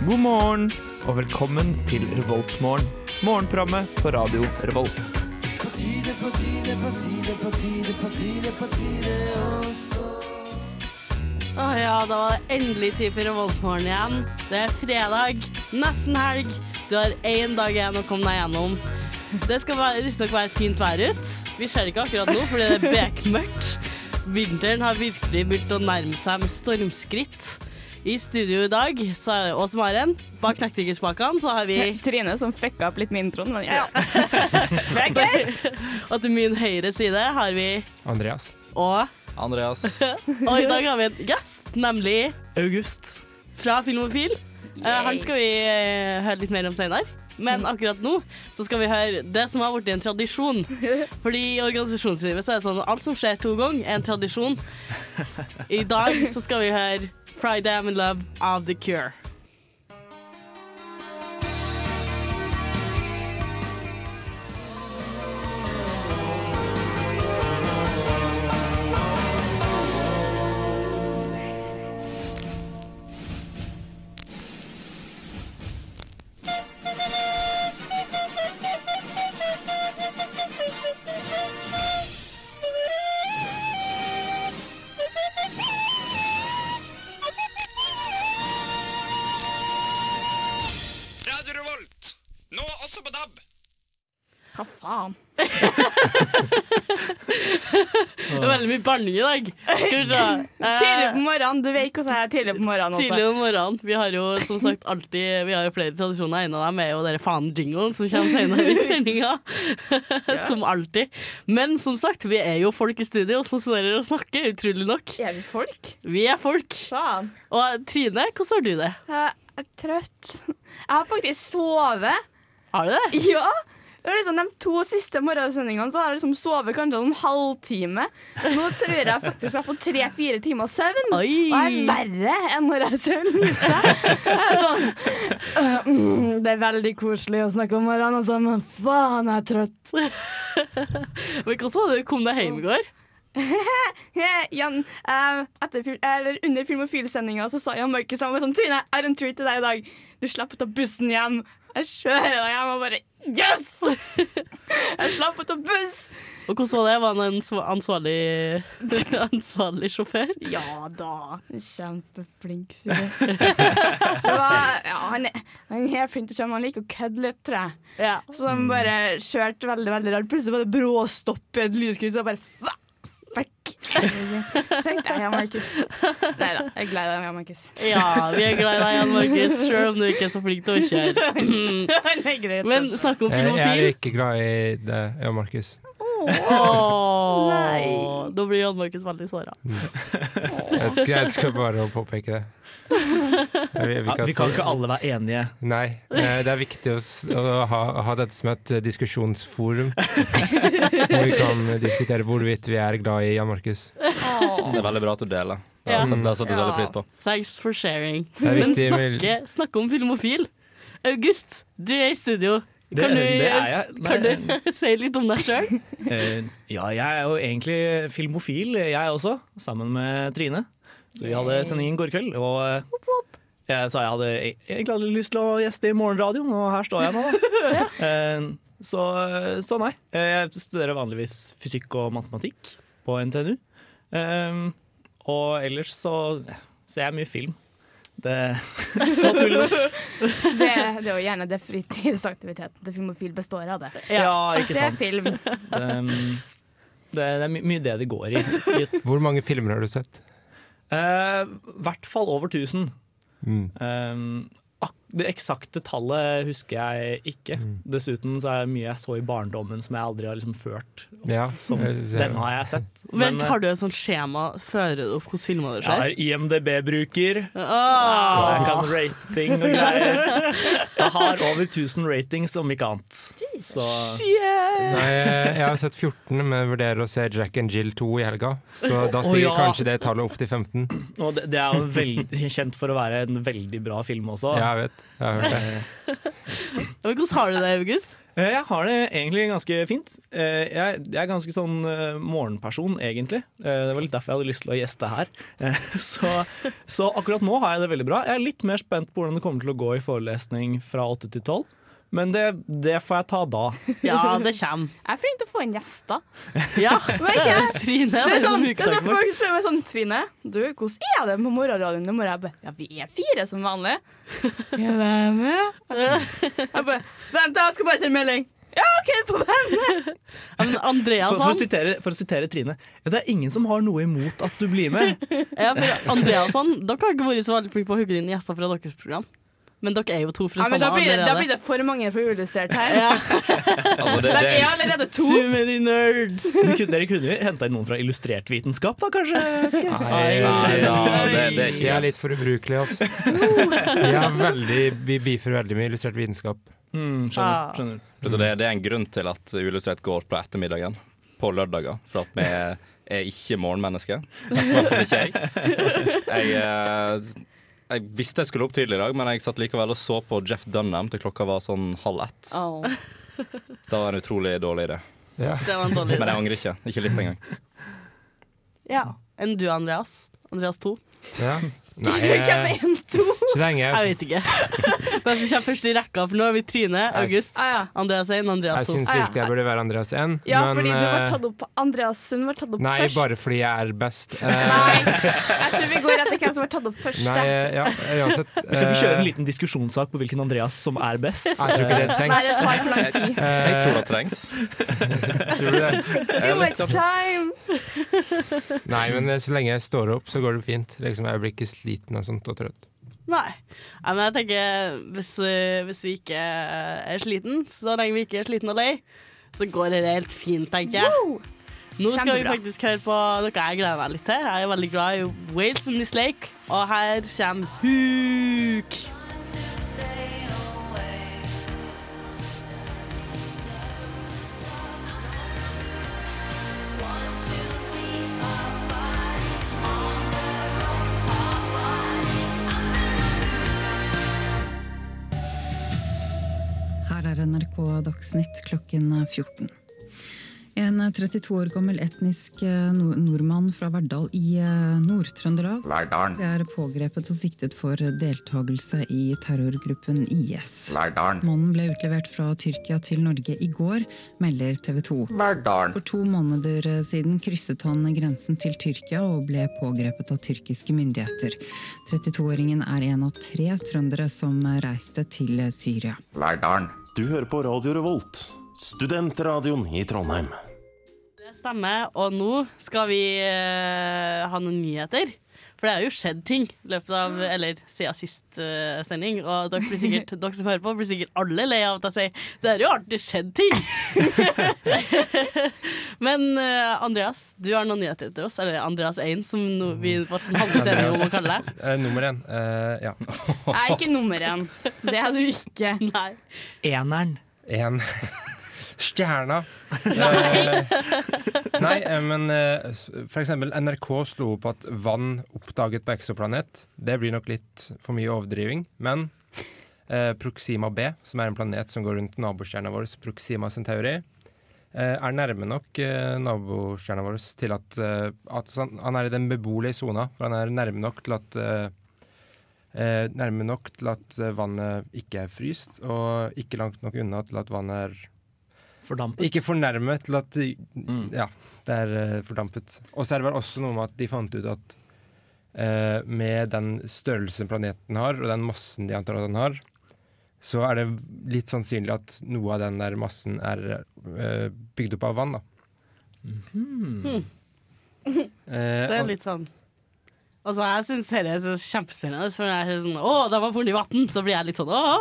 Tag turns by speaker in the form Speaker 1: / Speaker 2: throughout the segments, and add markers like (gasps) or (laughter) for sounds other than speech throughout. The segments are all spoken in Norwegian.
Speaker 1: morgen, og velkommen til Revoltmorgen. Morgenprogrammet på radio Revolt.
Speaker 2: Å ja, da var det endelig tid for Revoltmorgen igjen. Det er fredag, nesten helg. Du har én dag igjen å komme deg gjennom. Det skal være- visstnok være fint vær ut. Vi ser det ikke akkurat nå, fordi det er bekmørkt. Vinteren har virkelig begynt å nærme seg med stormskritt. I studio i dag så er det Åse Maren. Bak knektingespakene så har vi
Speaker 3: Trine som fucka opp litt med introen, men ja. (laughs)
Speaker 2: Og til min høyre side har vi
Speaker 1: Andreas.
Speaker 2: Og
Speaker 4: Andreas.
Speaker 2: Og i dag har vi en gjest, nemlig
Speaker 1: August.
Speaker 2: fra Filmofil. Eh, han skal vi eh, høre litt mer om senere. Men akkurat nå så skal vi høre det som har blitt en tradisjon. Fordi i organisasjonslivet så er det sånn at alt som skjer to ganger, er en tradisjon. I dag så skal vi høre 'Friday I'm in Love' av The Cure.
Speaker 5: Radio Revolt, nå også på DAB.
Speaker 3: Hva faen?
Speaker 2: Det er veldig mye banning i dag. Skal vi se.
Speaker 3: Tidlig
Speaker 2: Eh,
Speaker 3: på morgenen. Du vet hvordan jeg er tidlig på morgenen også.
Speaker 2: Tidlig om morgenen. Vi har jo som sagt alltid Vi har jo flere tradisjoner. En av dem er jo dere faen-jinglen som kommer senere i sendinga. (laughs) som alltid. Men som sagt, vi er jo folk i studio som studerer og snakker, utrolig nok.
Speaker 3: Er vi folk?
Speaker 2: Vi er folk.
Speaker 3: Faen.
Speaker 2: Og Trine, hvordan har du det?
Speaker 3: Eh, Jeg er trøtt. Jeg har faktisk sovet.
Speaker 2: Har du det?
Speaker 3: Ja! Det var liksom De to siste morgensendingene så har jeg liksom sovet kanskje en halvtime. Nå tror jeg faktisk jeg har fått tre-fire timer søvn.
Speaker 2: Oi.
Speaker 3: Og jeg er verre enn når jeg sover lite. (laughs) Jeg er sånn, øh, mm, det er veldig koselig å snakke om morgenen, altså, men faen, jeg er trøtt.
Speaker 2: Men hvordan var det du kom deg hjem i går?
Speaker 3: Eh, Jan, eh, etter, fil- eller under Film og Fil-sendinga så sa Jan Markus til meg sånn Trine, jeg har en tur til deg i dag. Du slipper å ta bussen hjem. Jeg kjører deg hjem og bare Yes! (laughs) Jeg slapp å ta buss!
Speaker 2: Og hvordan var det? Var han en sva- ansvarlig, (laughs) ansvarlig sjåfør?
Speaker 3: Ja da. Kjempeflink, sier jeg. (laughs) Det var, ja, han, er, han er flink til å kjøre, men han liker å kødde litt, tror jeg.
Speaker 2: Ja.
Speaker 3: Så han bare kjørte veldig veldig rart. Plutselig var det bråstopp i et lyskryss, og jeg bare fa- fuck! Fuck deg, Jan Markus. Nei da, jeg er glad i deg, Jan Markus.
Speaker 2: ja, vi er glad i deg, Jan Markus, selv om du ikke er så flink til å kjøre.
Speaker 3: (laughs)
Speaker 2: Mm.
Speaker 3: Han er greit. altså.
Speaker 2: Men snakk om
Speaker 6: Jeg jeg
Speaker 2: filmofil.
Speaker 6: er ikke glad i deg, Jan Markus.
Speaker 2: Åh,
Speaker 3: Nei.
Speaker 2: Da blir Jan Markus veldig såra.
Speaker 6: Jeg skal, jeg skal bare påpeke det. Jeg vil- jeg vil
Speaker 4: Ja,
Speaker 6: at
Speaker 4: vi kan
Speaker 6: folk-
Speaker 4: ikke alle være enige.
Speaker 6: Nei, eh, det er viktig å, s- å ha, ha dette som et
Speaker 4: (laughs)
Speaker 6: eh, diskusjonsforum. Hvor vi kan diskutere hvorvidt vi er glad i Jan Markus.
Speaker 4: Det er veldig bra at du deler. Det
Speaker 2: Ja.
Speaker 4: har jeg satt
Speaker 3: Ja.
Speaker 4: veldig pris på.
Speaker 2: Thanks for sharing.
Speaker 6: er
Speaker 2: Men
Speaker 6: viktig, vel-
Speaker 2: snakke, snakke om filmofil. August, du er i studio.
Speaker 4: Det-
Speaker 2: Kan du,
Speaker 4: det er jeg. Nei.
Speaker 2: kan du (laughs) si litt om deg sjøl?
Speaker 4: Eh, ja, jeg er jo egentlig filmofil, jeg også, sammen med Trine. Så vi hadde sending i går kveld, og eh, jeg sa jeg hadde e-, egentlig hadde lyst til å gjeste i morgenradioen, og her står jeg nå. da.
Speaker 3: (laughs)
Speaker 4: Eh, så, så nei. Eh, Jeg studerer vanligvis fysikk og matematikk på NTNU. Eh, og ellers så ser jeg mye film. Det Naturlig nok.
Speaker 3: det, det er jo gjerne det fritidsaktiviteten til Filmofil består av. det.
Speaker 2: Ja.
Speaker 4: Ja, ikke
Speaker 3: Se
Speaker 4: sant.
Speaker 3: film.
Speaker 4: Um, det, det er my mye det det går i. I
Speaker 3: (laughs)
Speaker 4: et-
Speaker 6: Hvor mange filmer har du sett?
Speaker 4: Eh, hvert fall over 1000.
Speaker 6: Mm.
Speaker 4: Um, ak det eksakte tallet husker jeg ikke.
Speaker 6: Mm.
Speaker 4: Dessuten så er det mye jeg så i barndommen som jeg aldri har liksom ført.
Speaker 6: Ja, Eh,
Speaker 4: Som
Speaker 6: jeg ser-
Speaker 4: denne har jeg
Speaker 2: (laughs)
Speaker 4: sett.
Speaker 2: Vent, har du et sånt skjema? Fører du opp hvordan filmer det Ah.
Speaker 4: eh, jeg
Speaker 2: skjer?
Speaker 4: er IMDb-bruker. og Jeg
Speaker 2: Åh.
Speaker 4: kan rating og greier. Jeg har over 1000 ratings, om ikke annet. Så
Speaker 6: Nei, eh, jeg jeg har sett 14, men vurderer å se Jack and Jill 2 i helga. Så da stiger
Speaker 4: Å, ja.
Speaker 6: kanskje det tallet opp til 15.
Speaker 4: Og det, det er jo veldig, kjent for å være en veldig bra film også.
Speaker 6: Ja, jeg vet. Jeg har hørt det.
Speaker 3: (laughs)
Speaker 2: Men hvordan har du det, August?
Speaker 4: Eh, Jeg har det egentlig ganske fint. Eh, Jeg, jeg er ganske sånn eh, morgenperson, egentlig. Eh, Det var litt derfor jeg hadde lyst til å gjeste her. Eh, (laughs) Så, så akkurat nå har jeg det veldig bra. Jeg er litt mer spent på hvordan det kommer til å gå i forelesning fra åtte til tolv. Men det, det får jeg ta da.
Speaker 2: Ja, det kommer.
Speaker 3: Jeg er flink til å få inn gjester.
Speaker 2: Ja,
Speaker 3: Men ikke jeg.
Speaker 2: (laughs) Trine, det
Speaker 3: Det er sånn, det er
Speaker 4: ukedag
Speaker 3: sånn folk spør meg sånn Trine, du, hvordan er det på morgenradioen i morgen? Jeg bare, ja, vi er fire som vanlig. Jeg er med. Jeg bare, vent, da, jeg skal bare sende melding. Ja, OK, på hvem?
Speaker 2: Men Andreas,
Speaker 4: For, for, å
Speaker 2: han,
Speaker 4: sitere, for å sitere Trine ja, Det er ingen som har noe imot at du blir med.
Speaker 2: ja, for Andreas han, dere har ikke vært så veldig flinke på å hugge inn gjester fra deres program. Men dere er jo to fra
Speaker 3: Ja, men da
Speaker 2: samme
Speaker 3: blir, det, da
Speaker 2: allerede.
Speaker 3: blir det for mange for uillustrert her.
Speaker 1: Altså, det,
Speaker 3: De
Speaker 1: det,
Speaker 3: er allerede (laughs) to.
Speaker 2: Too many nerds!
Speaker 4: Dere kunne- Dere kunne henta inn noen fra illustrert vitenskap, da kanskje?
Speaker 1: nei,
Speaker 6: Nei,
Speaker 1: da, det, det er
Speaker 6: jeg
Speaker 1: ikke
Speaker 6: er
Speaker 1: greit.
Speaker 6: litt for ubrukelig, altså.
Speaker 3: Uh.
Speaker 6: Jeg er veldig, vi beefer veldig med illustrert vitenskap.
Speaker 4: Mm, skjønner, skjønner.
Speaker 7: Altså det, det er en grunn til at Uillustrert går på ettermiddagen på lørdager. For at vi er, er ikke morgenmennesker. I hvert fall Ikke jeg. Jeg, eh, jeg visste jeg skulle opp tidlig i dag, men jeg satt likevel og så på Jeff Dunham til klokka var sånn halv ett.
Speaker 2: Åh,
Speaker 7: Det var en utrolig dårlig idé.
Speaker 6: Ja.
Speaker 2: det var en dårlig idé.
Speaker 7: Men jeg angrer ikke. Ikke litt engang.
Speaker 2: Ja. Enn du, Andreas? Andreas 2?
Speaker 3: (laughs)
Speaker 6: Ja. Nei,
Speaker 3: (laughs) Hvem er
Speaker 6: jeg,
Speaker 3: en to?
Speaker 6: så lenge
Speaker 2: Jeg
Speaker 6: jeg,
Speaker 2: vet ikke. (laughs) Den som kommer først i rekka, for nå er vi Trine, August,
Speaker 3: Ah, ja.
Speaker 2: Andreas 1, Andreas
Speaker 6: jeg
Speaker 2: 2.
Speaker 6: syns virkelig jeg burde være Andreas 1,
Speaker 3: Ja, fordi du var
Speaker 6: eh,
Speaker 3: tatt opp Andreas Sund var tatt opp
Speaker 6: Nei,
Speaker 3: først.
Speaker 6: bare fordi jeg er best. Eh,
Speaker 3: (laughs) Nei, jeg tror vi går etter hvem som var tatt opp først.
Speaker 6: Nei,
Speaker 4: eh,
Speaker 6: eh,
Speaker 3: jeg.
Speaker 6: ja, uansett.
Speaker 4: Vi skal ikke kjøre en
Speaker 6: eh,
Speaker 4: liten diskusjonssak på hvilken Andreas som er best. Eh,
Speaker 6: Jeg tror ikke det
Speaker 3: Nei,
Speaker 6: trengs.
Speaker 3: det tar for
Speaker 4: (laughs)
Speaker 3: lang tid.
Speaker 7: Jeg
Speaker 6: Eh,
Speaker 7: tror det trengs.
Speaker 6: tror du det?
Speaker 3: Too much time.
Speaker 6: Nei, men eh, så lenge jeg står opp, så går det fint. Liksom, jeg blir ikke sliten og sånt og trøtt.
Speaker 2: Nei. Nei, men jeg tenker hvis, eh, hvis vi ikke er sliten, så lenge vi ikke er sliten og lei, så går det helt fint, tenker jeg.
Speaker 3: Wow.
Speaker 2: Nå skal vi
Speaker 3: Kjempebra.
Speaker 2: faktisk høre på noe jeg gleder meg litt til. Jeg er veldig glad i Wales and This Lake, og her kommer Huk.
Speaker 8: Her er NRK Dagsnytt klokken er 14. En 32 år gammel etnisk eh, nor- nordmann fra Verdal i eh, Nord-Trøndelag
Speaker 9: Lærdalen,
Speaker 8: er pågrepet og siktet for deltakelse i terrorgruppen IS.
Speaker 9: Lærdalen,
Speaker 8: Mannen ble utlevert fra Tyrkia til Norge i går, melder TV 2.
Speaker 9: Lærdalen,
Speaker 8: For to måneder eh, siden krysset han grensen til Tyrkia og ble pågrepet av tyrkiske myndigheter. 32-åringen er en av tre trøndere som reiste til Syria.
Speaker 9: Lærdalen.
Speaker 10: Du hører på Radio Revolt, studentradioen i Trondheim.
Speaker 2: Det stemmer, og nå skal vi eh, ha noen nyheter. For det har jo skjedd ting i løpet av, eller siden sist eh, sending. Og dere, blir sikkert, dere som hører på, blir sikkert alle lei av at jeg sier det har jo alltid skjedd ting. (laughs) Men eh, Andreas, du har noen nyheter til oss. Eller Andreas 1, som no, vi var sånn halvveis enige om å kalle deg.
Speaker 6: Eh, nummer én. eh, ja.
Speaker 3: Jeg er ikke nummer én. Det er du ikke.
Speaker 2: (laughs) Nei.
Speaker 4: Eneren.
Speaker 6: En (laughs) Stjerna. Nei, Nei eh, men eh, s- for eksempel NRK slo opp at vann oppdaget på exoplanet. Det blir nok litt for mye overdriving, men eh, Proxima B, som er en planet som går rundt nabostjerna vår, Proxima Centauri, eh, er nærme nok eh, nabostjerna vår til at, eh, at så han- Han er i den beboelige sona, for han er nærme nok til at eh, eh, nærme nok til at eh, vannet ikke er fryst, og ikke langt nok unna til at vannet er
Speaker 4: Fordampet.
Speaker 6: Ikke for nærme til at eh,
Speaker 4: Mm.
Speaker 6: Ja, det er eh, fordampet. Og så er det vel også noe med at de fant ut at eh, med den størrelsen planeten har, og den massen de antar at den har, så er det litt sannsynlig at noe av den der massen er eh, bygd opp av vann, da.
Speaker 4: Mm.
Speaker 6: Eh,
Speaker 2: Mhm. Det
Speaker 6: og-
Speaker 2: er litt sånn Altså, jeg syns dette er så kjempespennende. Så når jeg er sånn, Å, de har funnet i vann! Så blir jeg litt sånn Å!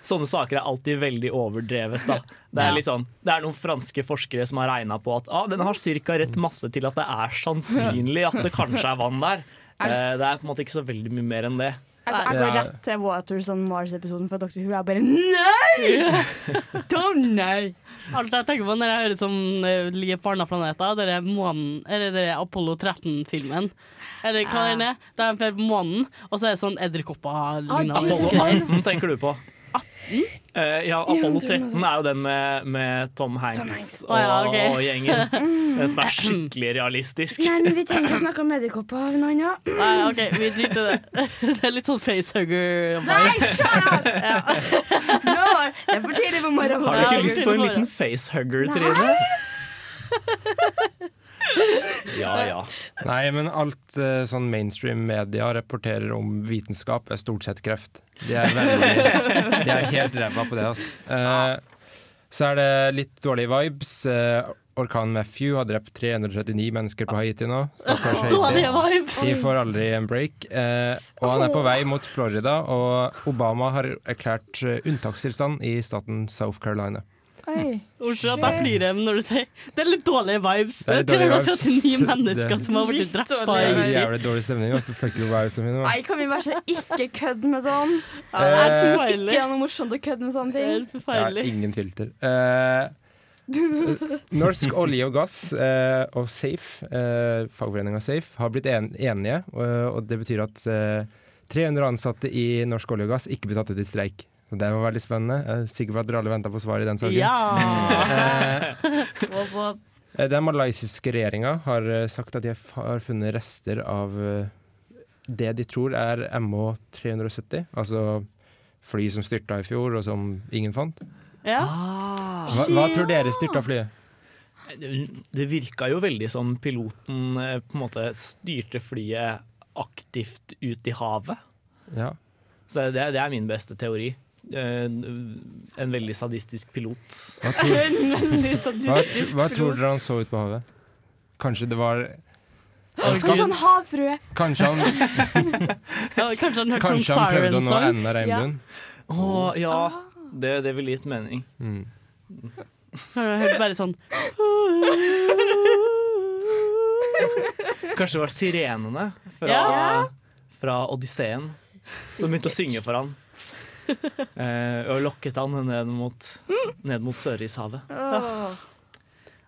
Speaker 4: Sånne saker er alltid veldig overdrevet. Da. Det, er
Speaker 2: Ja.
Speaker 4: litt sånn, det er noen franske forskere som har regna på at ah, den har ca. rett masse til at det er sannsynlig at det kanskje er vann der. Eh, Det er på en måte ikke så veldig mye mer enn det.
Speaker 3: Jeg, jeg går
Speaker 6: Ja.
Speaker 3: rett til Waters on Mars-episoden fra Dr. Who. Jeg bare (laughs) nei! Tom, nei!
Speaker 2: Alt jeg tenker på når jeg hører som eh, ligger på andre planeter, det er månen, eller det er Apollo 13-filmen. Eller hva er det? Det er en på månen, og så er det sånn edderkopper
Speaker 3: Ah,
Speaker 2: lignende
Speaker 3: Jesus.
Speaker 4: Apollo 18 tenker du på. Eh, ja, Apollo 13 er jo den med, med Tom Hanks, Og,
Speaker 2: Å ja, ok.
Speaker 4: og gjengen. Den som er skikkelig realistisk.
Speaker 3: Nei, men vi trenger ikke snakke om edderkopper av noe annet.
Speaker 2: Nei, OK, vi driter i det. (laughs) Det er litt sånn facehugger.
Speaker 3: Nei, shut (laughs) up! Nå, det er for tidlig på
Speaker 4: Har
Speaker 3: morgenen.
Speaker 4: du
Speaker 2: Ja,
Speaker 4: ikke
Speaker 2: ok,
Speaker 4: lyst på en
Speaker 2: så
Speaker 4: liten facehugger, Trine? Ja, ja.
Speaker 6: Nei, men alt eh, sånn mainstream media rapporterer om vitenskap, er stort sett kreft. De er, veldig, de er helt ræva på det, altså. Eh, så er det litt dårlige vibes. Eh, Orkanen Matthew har drept 339 mennesker på Haiti nå. Stakkars Haiti.
Speaker 2: Dårlige vibes.
Speaker 6: De får aldri en break. Eh, og han er på vei mot Florida, og Obama har erklært eh, unntakstilstand i staten South Carolina.
Speaker 3: Oi.
Speaker 2: Bortsett fra at jeg flirer når du sier Det er litt dårlige vibes.
Speaker 6: Det
Speaker 2: Det
Speaker 6: er
Speaker 2: er
Speaker 6: litt dårlige
Speaker 2: 339
Speaker 6: vibes.
Speaker 2: mennesker
Speaker 6: Det-
Speaker 2: som har blitt
Speaker 3: Litt
Speaker 2: drept av
Speaker 6: Det er
Speaker 2: IS.
Speaker 6: jævlig dårlig stemning. altså. Fuck you, vibes mine, man.
Speaker 3: Nei, kan vi være så ikke kødde med sånn?
Speaker 2: Ja, Det er så
Speaker 6: Eh,
Speaker 3: Ikke
Speaker 2: forferdelig.
Speaker 3: er noe morsomt å kødde med sånne
Speaker 2: Det er
Speaker 3: ting.
Speaker 2: helt
Speaker 6: Jeg har
Speaker 2: forferdelig. (laughs)
Speaker 6: ingen filter. Eh, norsk olje og gass eh, og Safe, eh, fagforeninga Safe, har blitt en enige. Og, og det betyr at eh, 300 ansatte i norsk olje og gass ikke blir tatt ut i streik. Så det var veldig spennende. Jeg er sikker på at dere alle venta på svaret i
Speaker 3: (laughs)
Speaker 6: den saken.
Speaker 2: Ja.
Speaker 6: Eh,
Speaker 2: Wop, wop.
Speaker 6: Eh, Den malaysiske regjeringa har eh, sagt at de f- har funnet rester av eh, det de tror er MH370, altså fly som styrta i fjor, og som ingen fant.
Speaker 3: Ah.
Speaker 2: ja.
Speaker 6: Hva, hva tror dere styrta flyet?
Speaker 4: Det virka jo veldig som piloten eh, på en måte styrte flyet aktivt ut i havet.
Speaker 6: Ja.
Speaker 4: Så det, det er min beste teori. Eh, En veldig sadistisk pilot.
Speaker 6: Hva, tror,
Speaker 3: En veldig
Speaker 6: hva,
Speaker 3: sadistisk
Speaker 6: hva tror dere han så ut på havet? Kanskje det var
Speaker 3: Kanskje sånn havfrue.
Speaker 6: Kanskje
Speaker 2: (laughs)
Speaker 6: han,
Speaker 2: Ja, Kanskje han hørte sånn
Speaker 6: kanskje han prøvde
Speaker 2: siren
Speaker 6: å nå
Speaker 2: song.
Speaker 6: enden av regnbuen?
Speaker 4: Å ja, det, det ville gitt mening.
Speaker 6: Mm.
Speaker 2: Han hørte bare sånn
Speaker 4: Kanskje det var sirenene fra,
Speaker 2: Ja.
Speaker 4: fra Odysseen som begynte å synge for han. Eh, og lokket han ned mot, ned mot Sørishavet.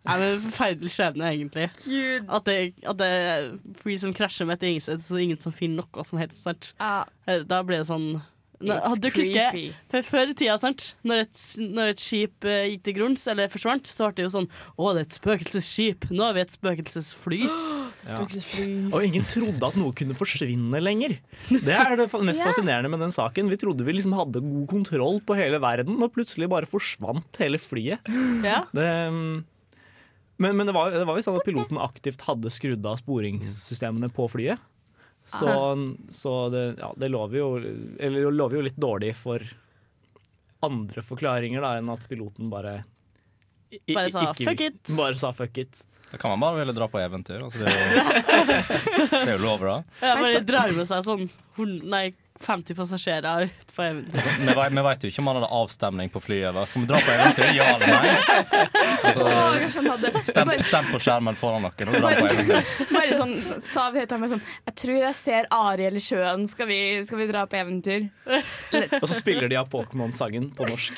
Speaker 2: Nei, men Forferdelig skjebne, egentlig.
Speaker 3: Gud.
Speaker 2: At det, at det er fly som krasjer med et ingested, så ingen som finner noe som helst. Sant?
Speaker 3: Ja.
Speaker 2: Eh, Da blir det sånn Nå,
Speaker 3: It's
Speaker 2: Du husker
Speaker 3: creepy.
Speaker 2: for før i tida, sant? Når, et, når et skip eh, gikk til grunns eller forsvant, så ble det jo sånn Å, det er et spøkelsesskip. Nå er vi et spøkelsesfly. (gasps)
Speaker 4: Og ingen trodde at noe kunne forsvinne lenger. Det er det fa- mest fascinerende med den saken. Vi trodde vi liksom hadde god kontroll på hele verden, og plutselig bare forsvant hele flyet.
Speaker 2: Ja.
Speaker 4: Det, mm, men men det, var, det var jo sånn at piloten aktivt hadde skrudd av sporingssystemene på flyet. Så, så det, ja, det lover jo Eller det lover jo litt dårlig for andre forklaringer da, enn at piloten bare i- i-
Speaker 2: Bare sa, "Fuck it."
Speaker 4: Bare sa fuck it.
Speaker 7: Da kan man bare ville dra på eventyr. Altså, det, er jo,
Speaker 2: (laughs)
Speaker 7: det er jo lov, da.
Speaker 2: Jeg bare drar med seg sånn hun- Nei, 50 passasjerer ut på eventyr.
Speaker 7: Altså, vi, vet, vi vet jo ikke om han hadde avstemning på flyet. hva? Skal vi dra på eventyr? Ja eller nei?
Speaker 3: Å,
Speaker 7: Altså,
Speaker 3: kanskje han hadde
Speaker 7: stem, stem på skjermen foran dere og dra på eventyr.
Speaker 3: Bare sånn, sa vi til meg sånn Jeg tror jeg ser Ariel i sjøen. Skal vi, skal vi dra på eventyr?
Speaker 4: Og så spiller de av Pokémon-sangen på norsk.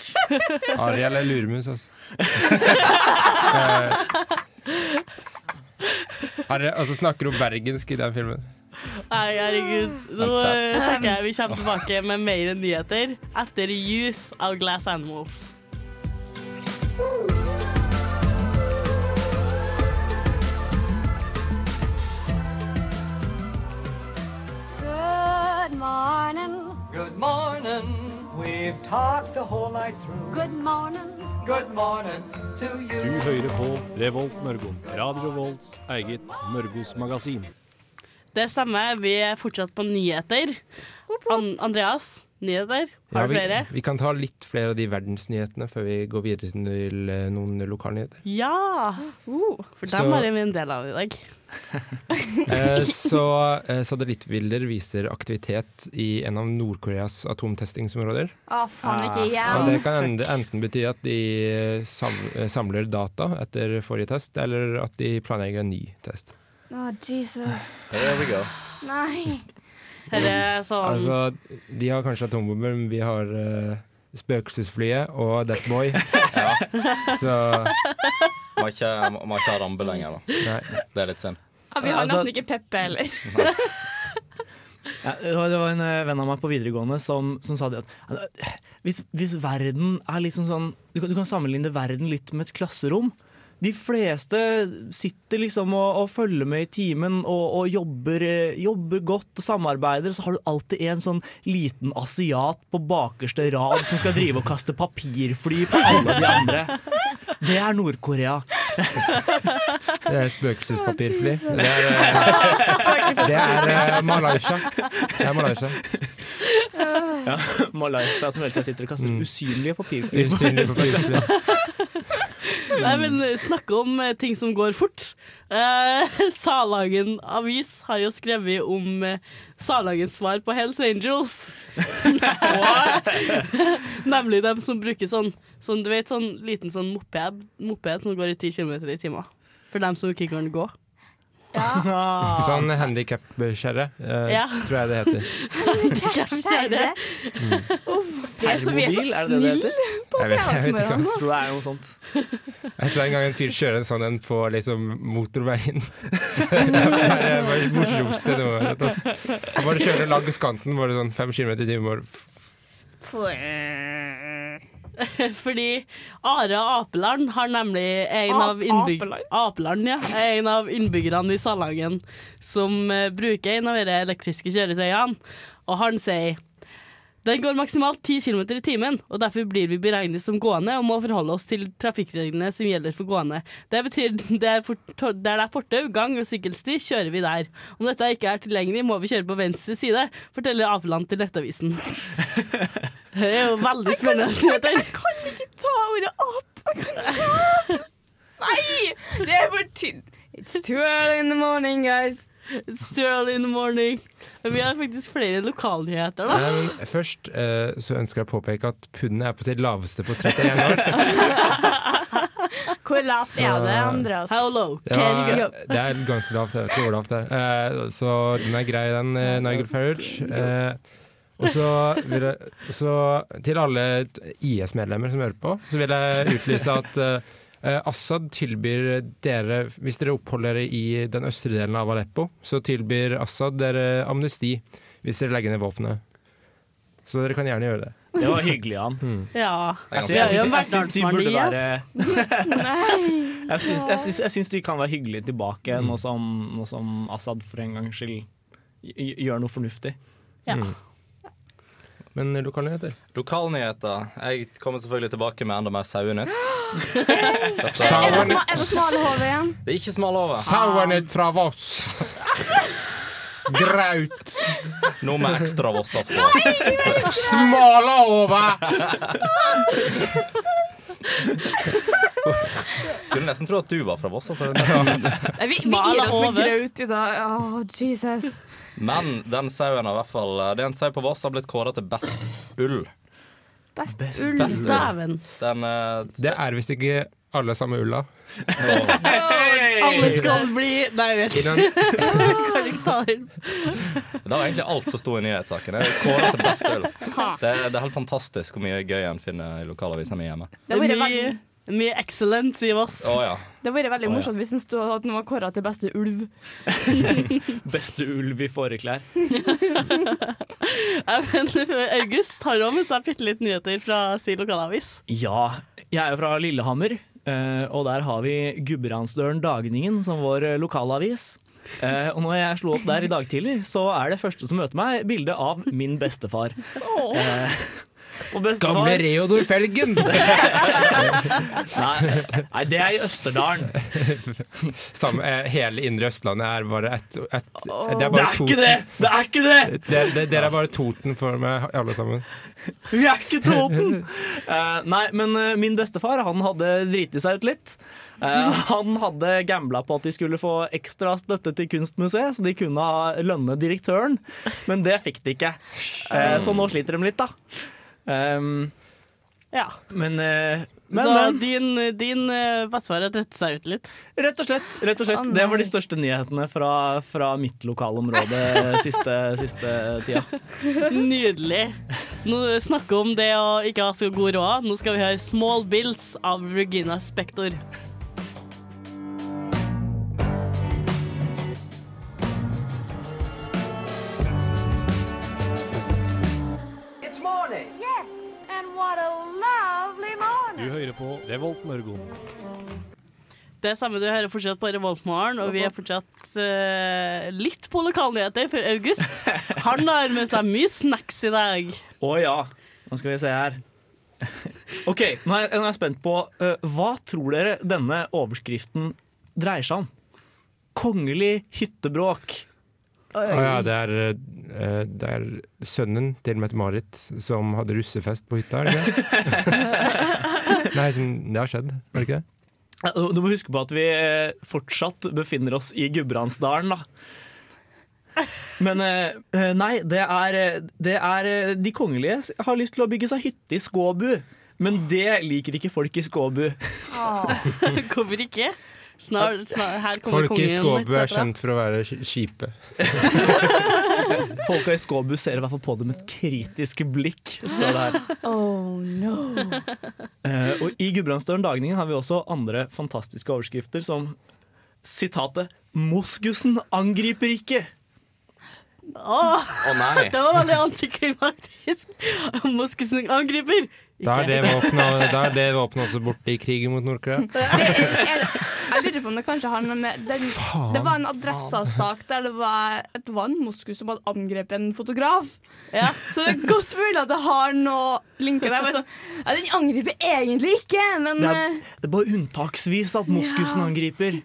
Speaker 6: Ariel er luremus, altså. Eh, Ariel, altså snakker hun bergensk i den filmen?
Speaker 2: Nei, herregud. Nå eh, tenker jeg vi kommer tilbake med mer nyheter etter Youth av Glass Animals.
Speaker 9: Good morning. Good morning. We've talked the whole night through. Good morning. Good morning to you.
Speaker 11: Du hører på Revolt Mørgo. Radio Revolts eget Mørgos magasin.
Speaker 2: Det stemmer. Vi er fortsatt på nyheter. An Andreas, nyheter? Har du
Speaker 6: Ja,
Speaker 2: flere?
Speaker 6: Vi, vi kan ta litt flere av de verdensnyhetene før vi går videre til eh, noen
Speaker 2: (laughs)
Speaker 6: lokalnyheter.
Speaker 2: Ja! for
Speaker 6: Så-
Speaker 2: dem er vi en del av i dag.
Speaker 6: Eh, så eh, satellittbilder viser aktivitet i en av Nord-Koreas atomtestingsområder.
Speaker 3: Å, faen ikke
Speaker 6: Og
Speaker 3: igjen.
Speaker 6: Ah. det kan ende- enten bety at de eh, sam eh, samler data etter forrige test, eller at de planlegger en ny test.
Speaker 3: Å, Jesus.
Speaker 7: Here we go.
Speaker 3: Nei.
Speaker 2: Her er sånn
Speaker 6: Altså, de har kanskje atombomber, men vi har eh, Spøkelsesflyet og Deathboy.
Speaker 7: Ja.
Speaker 6: Så
Speaker 7: Må ikke, må ikke ha rambe lenger, da.
Speaker 6: nei.
Speaker 7: Det er litt synd.
Speaker 3: Ja, vi har (laughs)
Speaker 4: Altså-
Speaker 3: nesten ikke Peppe heller.
Speaker 4: Ja, det var- det var en eh, venn av meg på videregående som, som sa det at eh, hvis, hvis verden er litt sånn sånn du kan, du kan sammenligne verden litt med et klasserom. De fleste sitter liksom og, og følger med i timen og, og jobber, eh, jobber godt og samarbeider. Så har du alltid en sånn liten asiat på bakerste rad som skal drive og kaste papirfly på alle de andre. Det er Nord-Korea.
Speaker 6: Det er spøkelsespapirfly.
Speaker 4: Å, Jesus.
Speaker 6: Det er, eh, det er eh, Malaysia. Det er Malaysia.
Speaker 4: Ja, Malaysia som hele tiden sitter og kaster usynlige papirfly. på
Speaker 6: Usynlige
Speaker 4: resten av klassen.
Speaker 2: Nei, men snakke om eh, ting som går fort. Eh, (laughs) Salagen Avis har jo skrevet om eh, Salagens svar på Hells Angels. (laughs) What? (laughs) Nemlig dem som bruker sånn, sånn du vet, sånn liten sånn moped, moped som går i 10 km i timen. For dem som ikke kan gå.
Speaker 6: Sånn handikapkjerre, eh,
Speaker 2: Ja.
Speaker 6: tror jeg det heter.
Speaker 2: (laughs) Kjære.
Speaker 6: Mm.
Speaker 3: Det er så vi er så
Speaker 4: Permobil, er det det det
Speaker 3: snille på
Speaker 6: Jeg vet- jeg vet ikke,
Speaker 3: fredagsmorgenen.
Speaker 6: ass.
Speaker 4: Tror det er noe sånt.
Speaker 6: Jeg så en gang en fyr kjøre en sånn en på liksom motorveien. det var det var det morsomste noe. rett og slett. Han bare kjører langs kanten, bare sånn fem kilometer i timen. bare f-
Speaker 2: Fordi Are Apeland har nemlig en
Speaker 3: A-
Speaker 2: av, innbyg
Speaker 3: Apeland?
Speaker 2: Apeland, ja, er en av innbyggerne i Salangen som eh, bruker en av de elektriske kjøretøyene, og han sier den går maksimalt 10 km i timen, og derfor blir vi beregnet som gående og må forholde oss til trafikkreglene som gjelder for gående. Det betyr (laughs) der, for, der det er fortau, gang og sykkelsti, kjører vi der. Om dette ikke er tilgjengelig, må vi kjøre på venstre side, forteller Apeland til
Speaker 3: (laughs)
Speaker 2: Nettavisen. Det er jo veldig spennende nyheter.
Speaker 3: Ta ordet opp! Jeg kan ikke Nei! Det er for tynt. It's too early in the morning, guys.
Speaker 2: It's too early in the morning. Men vi har faktisk flere lokalnyheter, da.
Speaker 6: Nei, men først eh, så ønsker jeg å påpeke at pundet er på sitt laveste på 31 år.
Speaker 3: Hvor lavt
Speaker 6: Så-
Speaker 3: er det, Andreas?
Speaker 2: Hello,
Speaker 6: Det, var, det er ganske lavt. Jeg vet ikke hvor lavt det er. Eh, så den er grei, den, eh, Nigel Farage. Eh, og så, vil jeg, så til alle t- IS-medlemmer som hører på, så vil jeg utlyse at eh, eh, Assad tilbyr dere, hvis dere oppholder dere i den østre delen av Aleppo, så tilbyr Assad dere amnesti hvis dere legger ned våpenet. Så dere kan gjerne gjøre det.
Speaker 4: Det var hyggelig av han. Mm. Jeg
Speaker 2: Ja. Vi
Speaker 4: syns-
Speaker 2: er jo
Speaker 4: jeg
Speaker 2: en
Speaker 4: syns- jeg syns de
Speaker 2: Verdalsmann
Speaker 4: burde
Speaker 2: i oss.
Speaker 4: være-
Speaker 3: (laughs)
Speaker 4: Jeg syns- jeg syns- jeg syns de kan være hyggelige tilbake, nå som, nå som Assad for en gangs skyld gj- gjør noe fornuftig.
Speaker 2: Ja.
Speaker 6: Men lokalnyheter?
Speaker 7: Lokalnyheter. Jeg kommer selvfølgelig tilbake med enda mer sauenytt. Dette-
Speaker 3: Er det, sma, er det smale hodet igjen?
Speaker 7: Det er ikke smal over.
Speaker 6: Sauernytt fra Voss! Graut!
Speaker 7: Nå med ekstra vosser på.
Speaker 6: Smala over!
Speaker 7: Skulle nesten tro at du var fra Voss. Altså. Det er nesten-
Speaker 3: Nei, vi, vi
Speaker 2: Smale
Speaker 3: gir oss med
Speaker 2: hodet.
Speaker 3: graut i dag. Åh, Jesus.
Speaker 7: Men den sauen har i hvert fall Det er en sau på Voss som har blitt kåra til best ull.
Speaker 3: Best,
Speaker 4: Best
Speaker 3: ull.
Speaker 2: Til Staven.
Speaker 7: Den eh,
Speaker 6: Det er visst ikke alle samme ulla.
Speaker 2: Alle skal bli Nei, jeg vet ikke. (laughs)
Speaker 6: Innan,
Speaker 2: Kan ikke ta det inn.
Speaker 7: Det var egentlig alt som sto i nyhetssaken. Det er Kåra til best ull. Det, er- det er helt fantastisk hvor mye gøy en finner i lokalavisa mi hjemme.
Speaker 3: Det hadde vært
Speaker 2: Mye,
Speaker 3: veldig-
Speaker 2: mye excellent, sier Voss.
Speaker 7: Å ja.
Speaker 3: det hadde vært veldig
Speaker 7: Å, ja.
Speaker 3: morsomt hvis den stod at den var kåra til beste ulv.
Speaker 4: Beste ulv i fåreklær.
Speaker 2: Ja, Men eh, August har òg med seg bitte litt nyheter fra sin lokalavis.
Speaker 4: Ja, jeg er jo fra Lillehammer, eh, og der har vi Gudbrandsdølen Dagningen som vår eh, lokalavis. Eh, Og når jeg slo opp der i dag tidlig, så er det første som møter meg, bilde av min bestefar. Eh, Og bestefar
Speaker 6: gamle Reodor Felgen!
Speaker 4: Nei, nei, det er i Østerdalen.
Speaker 6: (laughs) Samme, eh, hele indre Østlandet er bare ett et, Det er
Speaker 4: Det
Speaker 6: bare
Speaker 4: er
Speaker 6: to
Speaker 4: ikke det! Det er ikke det!
Speaker 6: Dere- dere- dere er bare Toten for meg, alle sammen.
Speaker 4: Vi er ikke Toten! Eh, nei, men eh, min bestefar han hadde driti seg ut litt. Eh, han hadde gambla på at de skulle få ekstra støtte til Kunstmuseet, så de kunne ha lønne direktøren, men det fikk de ikke. Eh, så nå sliter de litt, da. Ehm,
Speaker 2: Ja.
Speaker 4: men, eh, men,
Speaker 2: Så
Speaker 4: men
Speaker 2: din, din eh, bestefar har trett seg ut litt.
Speaker 4: rett og slett. Rett og slett
Speaker 3: Å,
Speaker 4: det var
Speaker 3: nei.
Speaker 4: de største nyhetene fra, fra mitt lokalområde siste, siste tida.
Speaker 2: Nydelig. Nå snakker vi om det å ikke ha så god råd. Nå skal vi høre 'Small Bills' av Regina Spektor.
Speaker 9: morning. Yes, and what a lovely morning.
Speaker 11: Du hører på Revolt Mørgon.
Speaker 2: Det er samme du hører fortsatt på Revoltmorgen, og vi er fortsatt eh, litt på lokalnyheter for August. Han har med seg mye snacks i dag.
Speaker 4: Å ja. Nå skal vi se her. (laughs) OK, nå er jeg, nå er jeg spent på eh, Hva tror dere denne overskriften dreier seg om? Kongelig hyttebråk.
Speaker 6: Å ja, det er, eh, det er sønnen til Mette-Marit som hadde russefest på hytta, er det ikke det? Nei, sånn, det har skjedd, var det ikke det?
Speaker 4: Ja, Du du må huske på at vi eh, fortsatt befinner oss i Gudbrandsdalen, da. Men eh, eh, nei, det er, eh, det er eh, De kongelige s- har lyst til å bygge seg hytte i Skåbu. Men det liker ikke folk i Skåbu.
Speaker 2: Hvorfor ikke? Snart, snart, her kommer
Speaker 6: Folk i
Speaker 2: kongen.
Speaker 6: Skåbu er
Speaker 2: etc.
Speaker 6: kjent for å være sk- kjipe.
Speaker 4: Folka i Skåbu ser i hvert fall på det med et kritisk blikk, står det her.
Speaker 3: Oh no.
Speaker 4: Eh, og I Gudbrandsdølen Dagningen har vi også andre fantastiske overskrifter, som sitatet 'Moskusen angriper ikke'.
Speaker 2: Åh,
Speaker 4: Å, nei.
Speaker 2: Det var veldig antiklimaktisk. (laughs) Moskusen angriper.
Speaker 6: Da er det våpenet da er det våpenet også borte i krigen mot Nord-Korea.
Speaker 3: Jeg lurer på om det kanskje har noe med den,
Speaker 6: Faen.
Speaker 3: Det var en adressasak der det var, et- det var en moskus som hadde angrepet en fotograf. Så det er godt mulig at det har noe linker der. Bare sånn, ja, den angriper egentlig ikke, men
Speaker 4: Det
Speaker 3: eh,
Speaker 4: er, det er bare unntaksvis at moskusen
Speaker 3: Ja.
Speaker 4: angriper.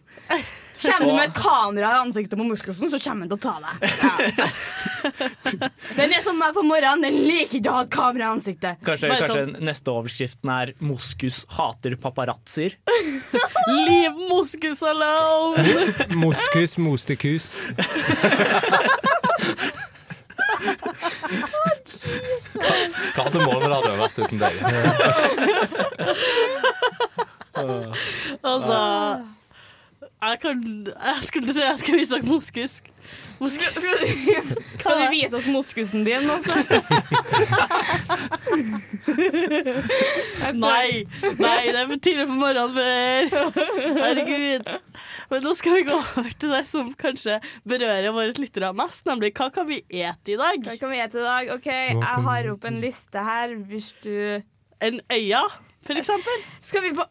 Speaker 3: Kommer du
Speaker 4: Og-
Speaker 3: med et kamera i ansiktet på moskusen, så kommer den til å ta deg. Ja. (laughs) Den er som meg på morgenen. Den liker ikke å ha et kamera i ansiktet.
Speaker 4: Kanskje,
Speaker 3: Bare
Speaker 4: kanskje
Speaker 3: sånn,
Speaker 4: neste overskriften er 'Moskus hater paparazzoer'.
Speaker 2: Leave moskus
Speaker 6: (laughs)
Speaker 2: alone!
Speaker 6: Moskus moste kus.
Speaker 7: Hva hadde morgenradioen vært uten deg?
Speaker 2: Altså jeg, kan, jeg skulle si jeg skulle sagt moskus. Moskus.
Speaker 3: Skal du vise oss moskusen din også?
Speaker 2: Nei, nei, det er for tidlig på morgenen før. Herregud. Men nå skal vi gå over til det som kanskje berører våre lyttere mest, nemlig hva kan vi ete i dag?
Speaker 3: Hva kan vi ete i dag? OK, jeg har opp en liste her hvis du
Speaker 2: En øya, for eksempel.
Speaker 3: Skal vi på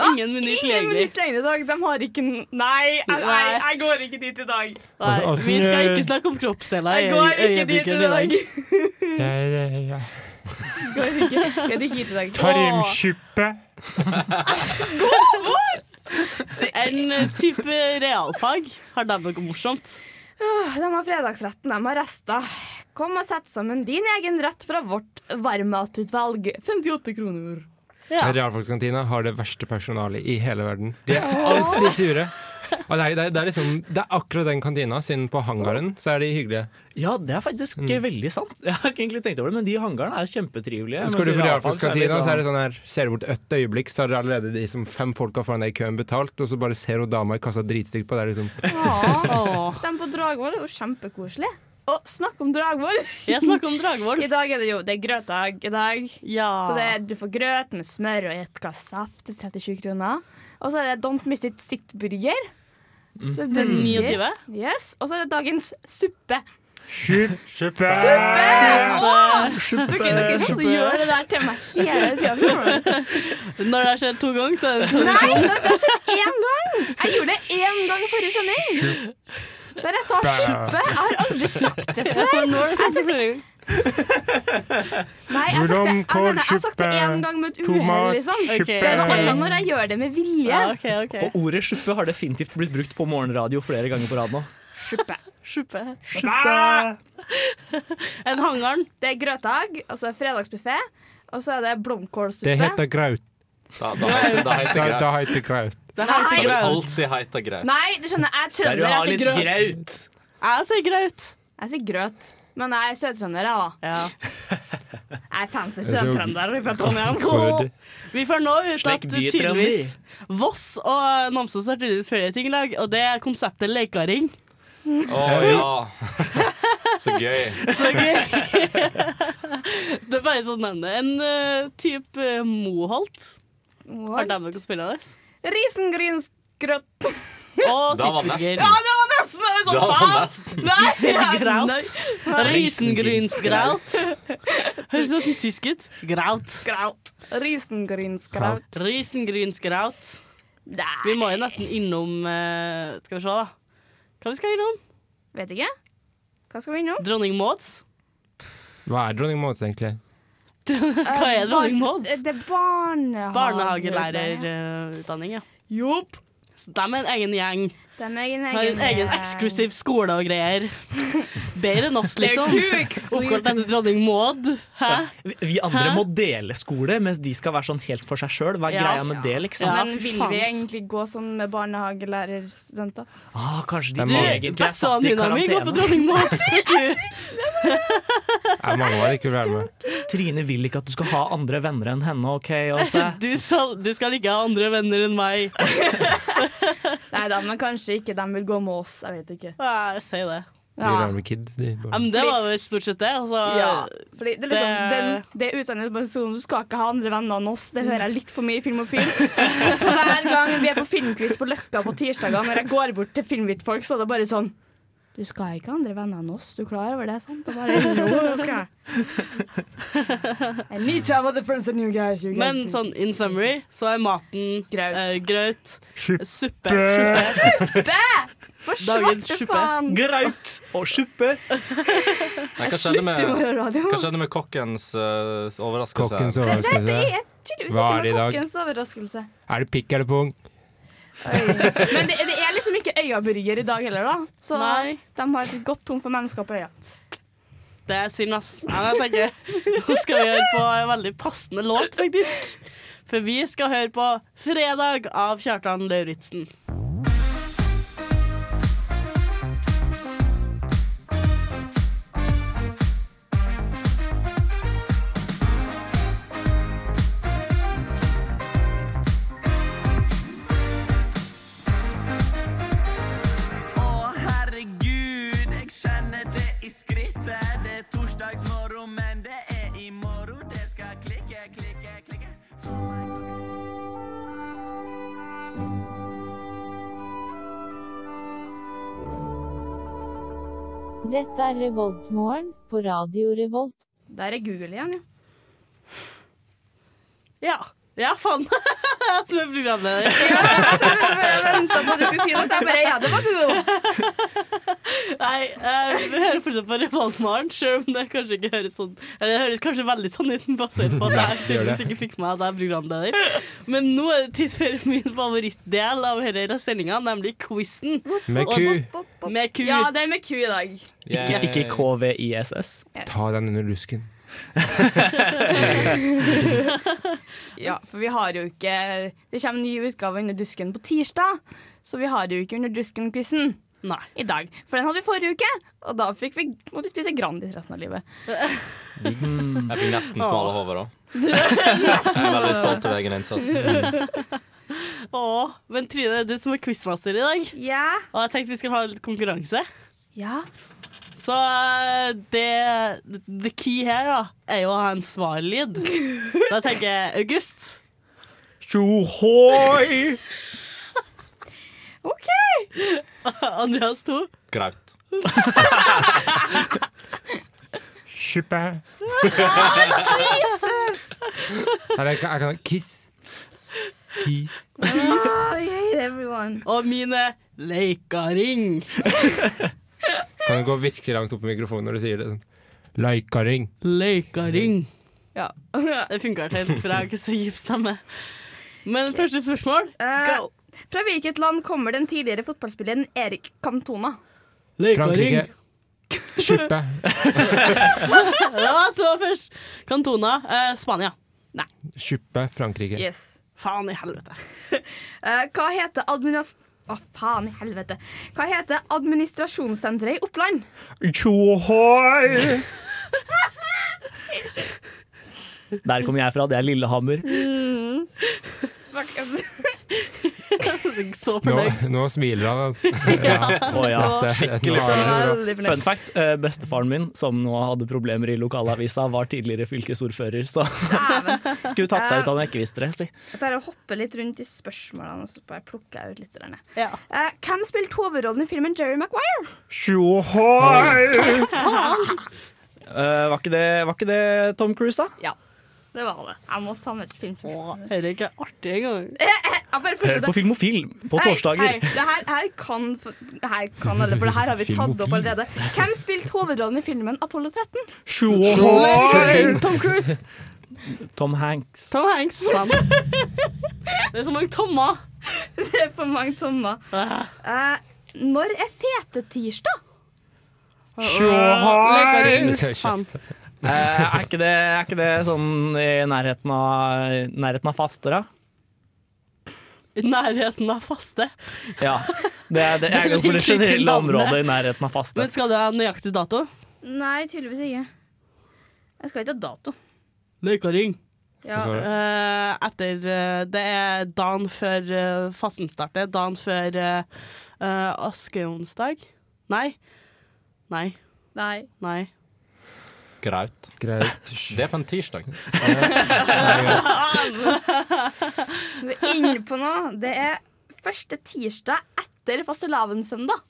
Speaker 3: Ah,
Speaker 2: Ingen minutt
Speaker 3: Ingen
Speaker 2: lenger.
Speaker 3: minutt lenger i dag. De har ikke n- Nei, jeg, jeg, jeg går ikke dit i dag.
Speaker 2: Nei, vi skal ikke snakke om kroppsdeler i
Speaker 3: Jeg går ikke dit i
Speaker 2: øyeblikket i dag.
Speaker 3: dag. (laughs) Går ikke, går ikke dit i dag.
Speaker 2: En eh, type realfag har de noe morsomt.
Speaker 3: Åh, De har fredagsretten, de har rester. Kom og sett sammen din egen rett fra vårt varmmatutvalg. 58 kroner. Ja.
Speaker 6: Realfagskantina har det verste personalet i hele verden. De er alltid sure. Og det, er, det, er, det, er liksom, det er akkurat den kantina, siden på hangaren så er de hyggelige.
Speaker 4: Ja, det er faktisk eh, veldig sant. Jeg har ikke egentlig tenkt over det, men de i hangaren er kjempetrivelige.
Speaker 6: Skal du
Speaker 4: mens i
Speaker 6: på
Speaker 4: realfag så er det
Speaker 6: realfagskantina, så er det
Speaker 4: sånn-
Speaker 6: sånn her Ser du bort et øyeblikk, så er det allerede de som fem folka foran deg i køen betalt, og så bare ser hun dama i kassa dritstygt på deg, liksom.
Speaker 3: De på Dragvoll er jo kjempekoselige. Og snakk om Dragvoll!
Speaker 2: Jeg snakker om Dragvoll.
Speaker 3: (laughs) I dag er det jo det er grøtdag i dag. Så det, er- du får grøt med smør og et glass saft til 37 kroner. Og så er det Don't Miss It Sitt Burger. Så det er
Speaker 2: Mm. 29?
Speaker 3: Yes. Og så er det dagens suppe.
Speaker 4: Suppe!
Speaker 3: Åh!
Speaker 4: Suppe!
Speaker 3: Dere, dere kommer til å gjøre det der til meg hele tiden.
Speaker 2: Når det har skjedd to ganger, så er det sånn- en
Speaker 3: Nei,
Speaker 2: tradisjon.
Speaker 3: det har skjedd én gang! Jeg gjorde det én gang i forrige sending. Der jeg sa suppe. Jeg har aldri sagt det før.
Speaker 2: Men (laughs) nå er det
Speaker 3: Jeg har sagt det- Nei, jeg har sagt det, jeg mener, jeg har sagt det én gang med et uhell, liksom.
Speaker 4: Tomat,
Speaker 3: Det er noe
Speaker 4: suppe.
Speaker 3: annet når jeg gjør det med vilje.
Speaker 2: Ja, ok, ok.
Speaker 4: Og ordet suppe har definitivt blitt brukt på morgenradio flere ganger på rad nå.
Speaker 2: Suppe. (laughs) En hangaren.
Speaker 3: Det er grøtdag, og så er det fredagsbuffé, og så er det blomkålsuppe.
Speaker 6: Det heter graut.
Speaker 7: Da, da heter da heter
Speaker 6: Da- Da
Speaker 7: greit.
Speaker 6: heter graut.
Speaker 2: Det her
Speaker 3: Nei.
Speaker 2: heter
Speaker 7: Det vil
Speaker 2: graut.
Speaker 7: alltid hete greit.
Speaker 3: Nei, du skjønner, jeg
Speaker 4: Der
Speaker 3: er trønder,
Speaker 4: du har
Speaker 3: jeg
Speaker 4: litt
Speaker 3: sier grøt.
Speaker 4: graut.
Speaker 2: Jeg sier graut.
Speaker 3: Jeg sier grøt, men jeg er sørtrønder, jeg òg.
Speaker 2: Ja.
Speaker 3: Jeg er fancy
Speaker 6: er så-
Speaker 3: sørtrønder fra Trondheim.
Speaker 6: Grøt.
Speaker 2: Vi får nå ut
Speaker 4: Slik
Speaker 2: at
Speaker 4: de i
Speaker 2: tydeligvis Voss og Namsos har tydeligvis flere ting i lag, og det er konseptet leikaring.
Speaker 7: Å ja. Så gøy.
Speaker 2: Så gøy. det er bare sånn navnet. En uh, type eh, Moholt. Har de noe spillende?
Speaker 3: Risengrynsgrøt.
Speaker 2: Og
Speaker 7: Da var det
Speaker 2: sitteburger.
Speaker 7: nesten.
Speaker 3: Det var nesten! nesten! Jeg sånn,
Speaker 7: Det var nesten.
Speaker 3: Nei, ja,
Speaker 2: Graut.
Speaker 3: nei.
Speaker 2: Risengrynsgraut. (laughs) Høres nesten tysk ut. Graut.
Speaker 3: Graut. Risengrynsgraut.
Speaker 2: Risengrynsgraut. Vi må jo nesten innom eh, Skal vi se, da. Hva vi skal innom?
Speaker 3: Vet ikke. Hva skal vi innom?
Speaker 2: Dronning Mauds.
Speaker 6: Hva er dronning Mauds, egentlig?
Speaker 2: Hva er dronning Mauds?
Speaker 3: eh, Det er barnehage...
Speaker 2: Barnehagelærerutdanning, eh, ja. Jopp. Så de er en egen gjeng.
Speaker 3: De er en
Speaker 2: Har en egen eksklusiv skole og greier. Bedre enn oss,
Speaker 3: They're
Speaker 2: liksom.
Speaker 3: too exclusive.
Speaker 2: Oppkalt etter dronning Maud. Hæ?
Speaker 4: Vi vi andre
Speaker 2: Hæ?
Speaker 4: må dele skole, mens de skal være sånn helt for seg sjøl. Hva er
Speaker 2: Ja.
Speaker 4: greia med det, liksom?
Speaker 3: Men vil vi egentlig gå sånn med barnehagelærerstudenter?
Speaker 4: Ah, kanskje de
Speaker 6: Det er
Speaker 4: egentlig er
Speaker 2: Bestevennen
Speaker 4: satt i
Speaker 2: min og meg går på
Speaker 4: karantene.
Speaker 2: dronning
Speaker 4: (laughs)
Speaker 2: Mauds.
Speaker 6: Jeg mange år ikke vil være med.
Speaker 4: Trine vil ikke at du skal ha andre venner enn henne, OK? Åse?
Speaker 2: (laughs) Du skal, du skal ikke ha andre venner enn meg.
Speaker 3: Nei da, men kanskje ikke de vil gå med oss. Jeg vet ikke.
Speaker 2: Ja, Jeg sier det.
Speaker 6: De vil være med Kid. De
Speaker 2: Ja,
Speaker 6: bare.
Speaker 2: men det var vel stort sett det. Altså,
Speaker 3: Ja, fordi det er liksom
Speaker 2: Det-
Speaker 3: den, Det er utseendet på personen Du skal ikke ha andre venner enn oss Det hører jeg litt for mye i film og film Hver gang vi er på filmquiz på Løkka på tirsdager Når jeg går bort til filmhvittfolk Så er det bare sånn Du skal ikke ha andre venner enn oss Du er klar over det, sant?
Speaker 2: (laughs)
Speaker 3: Og bare, jo, det skal (laughs) jeg I need to have other friends than you guys, you guys
Speaker 2: Men sånn in summary så er maten
Speaker 3: Graut.
Speaker 2: eh, graut
Speaker 4: Suppe.
Speaker 2: Suppe. suppe.
Speaker 3: Bæ! For
Speaker 2: Dagens
Speaker 3: svarte
Speaker 2: suppe.
Speaker 3: faen
Speaker 4: Graut og suppe.
Speaker 7: Nei, hva skjedde med,
Speaker 3: Slutt med radio.
Speaker 7: hva skjedde med kokkens eh, overraskelse?
Speaker 6: Kokkens
Speaker 3: Det
Speaker 6: overraskelse.
Speaker 3: er tydeligvis
Speaker 6: Hva
Speaker 3: ikke
Speaker 6: er
Speaker 3: med
Speaker 6: det i dag?
Speaker 3: kokkens overraskelse
Speaker 6: Er det pikk eller pung?
Speaker 3: Men det, det er liksom ikke øyaburger i dag heller, da. Så
Speaker 2: Nei.
Speaker 3: de har gått tom for mennesker på øya.
Speaker 2: Det er synd, ass. Nei, men jeg tenker, nå skal vi høre på en veldig passende låt, faktisk. For vi skal høre på 'Fredag' av Kjartan Lauritzen.
Speaker 12: Å, herregud, jeg kjenner det i skrittet. Det er torsdagsmorgen, men det er i morgen. Det skal klikke, klikke, klikke. Slå meg klokke.
Speaker 13: Dette er Revoltmorgen på Radio Revolt.
Speaker 3: Der er Google igjen, ja.
Speaker 2: Ja. Ja, faen. (laughs) Som er programleder.
Speaker 3: Jeg venta på at du skulle si noe, så jeg bare Ja, det var Google.
Speaker 2: Nei, eh, vi hører fortsatt på Revoltmorgen, selv om det kanskje ikke høres sånn Eller det høres kanskje veldig sånn ut, basert på at jeg
Speaker 6: det gjør det.
Speaker 2: tydeligvis ikke fikk med at jeg er programleder. Men nå er det tid for min favorittdel av denne sendinga, nemlig quizen.
Speaker 6: Med
Speaker 2: Og-
Speaker 6: ku.
Speaker 2: Med ku.
Speaker 3: Ja, det er med ku i dag.
Speaker 4: Ikke, ikke KVISS.
Speaker 6: Ta den under lusken.
Speaker 3: Ja, for vi har jo ikke Det kommer en ny utgave under dusken på tirsdag, så vi har jo ikke under dusken-quizen.
Speaker 2: Nei.
Speaker 3: I dag. For den hadde vi forrige uke, og da fikk vi, måtte vi spise Grandis resten av livet.
Speaker 7: Jeg fikk nesten smale hodet, da. Jeg er veldig stolt over egen innsats.
Speaker 2: Åh, men Trine, du som er quizmaster i dag,
Speaker 3: Ja.
Speaker 2: og jeg tenkte vi skulle ha litt konkurranse.
Speaker 3: Ja.
Speaker 2: Så eh, det The key her da er jo å ha en svarlyd. Så jeg tenker August.
Speaker 4: Tjohoi!
Speaker 3: OK.
Speaker 2: Andreas 2.
Speaker 7: Graut.
Speaker 6: Suppe. Eller jeg kan, jeg kan Kiss. Kiss.
Speaker 3: Ah, I hate everyone.
Speaker 2: Og mine leikaring.
Speaker 6: Kan du gå virkelig langt opp i mikrofonen når du sier det? Sånn. Leikaring.
Speaker 2: Leikaring.
Speaker 3: Ja.
Speaker 2: (laughs) Det funka helt, for jeg har ikke så dyp stemme. Men første spørsmål.
Speaker 3: Eh, fra hvilket land kommer den tidligere fotballspilleren Erik Cantona?
Speaker 6: Frankrike. Suppe.
Speaker 2: Det var så først. Kantona. eh, Spania.
Speaker 6: Suppe Frankrike.
Speaker 3: Yes.
Speaker 2: Faen i helvete. (laughs)
Speaker 3: Eh, hva heter administ... Å, faen i helvete. Hva heter administrasjonssenteret i Oppland?
Speaker 4: Tjohoi!
Speaker 3: (laughs)
Speaker 4: Der kommer jeg fra. Det er Lillehammer.
Speaker 3: Fuck, ass.
Speaker 2: jeg så
Speaker 6: Nå,
Speaker 2: fornøyd.
Speaker 6: nå smiler han. Altså.
Speaker 4: Å ja, skikkelig.
Speaker 3: sånn
Speaker 6: Nå er det bra.
Speaker 4: Fun fact, eh, bestefaren min, som nå hadde problemer i lokalavisa, var tidligere fylkesordfører, så skulle tatt seg ut av om jeg ikke visste det, si.
Speaker 3: Jeg tar og hopper litt rundt i spørsmålene og så bare plukker jeg ut litt. grann. Eh, hvem spilte hovedrollen i filmen Jerry Maguire?
Speaker 4: Tjohoi!
Speaker 3: Faen!
Speaker 4: Eh, var, ikke det, var ikke det Tom Cruise, da?
Speaker 3: ja, det var det. Jeg må ta med filmspørsmål.
Speaker 2: Dette er ikke artig engang.
Speaker 3: Jeg
Speaker 4: Hør
Speaker 3: bare fortsetter.
Speaker 4: Eh, på Filmofil på
Speaker 3: Hei,
Speaker 4: torsdager.
Speaker 3: hei, Det her, her, kan, her kan alle, for det her har vi tatt opp
Speaker 4: Filmofil.
Speaker 3: allerede. Hvem spilte hovedrollen i filmen Apollo 13?
Speaker 4: Tjohoi!
Speaker 3: Tom Cruise.
Speaker 4: Tom Hanks.
Speaker 2: Tom Hanks. Faen. Det er så mange tommer.
Speaker 3: Det er for mange tommer. Eh, når er fetetirsdag?
Speaker 4: Tjohoi!
Speaker 2: Faen.
Speaker 4: Eh, er, ikke det, er ikke det sånn i nærheten av, nærheten av faster, da?
Speaker 2: I Nærheten av faste.
Speaker 4: Ja. Det er det,
Speaker 2: Det
Speaker 4: jeg går for det
Speaker 2: ligger i
Speaker 4: generelle
Speaker 2: navnet.
Speaker 4: området i nærheten av faste.
Speaker 2: Men skal du ha nøyaktig dato?
Speaker 3: Nei, tydeligvis ikke. Jeg skal ikke ha dato.
Speaker 2: Løykaring.
Speaker 3: Ja. Hva sa du?
Speaker 2: Eh, etter eh, Det er dagen før eh, fasten starter. Dagen før eh, eh, askeonsdag. Nei. Nei.
Speaker 3: Nei.
Speaker 2: Nei.
Speaker 7: Graut. Det er på en tirsdag.
Speaker 3: Vi er inne på noe. Det er første tirsdag etter fastelavnssøndag.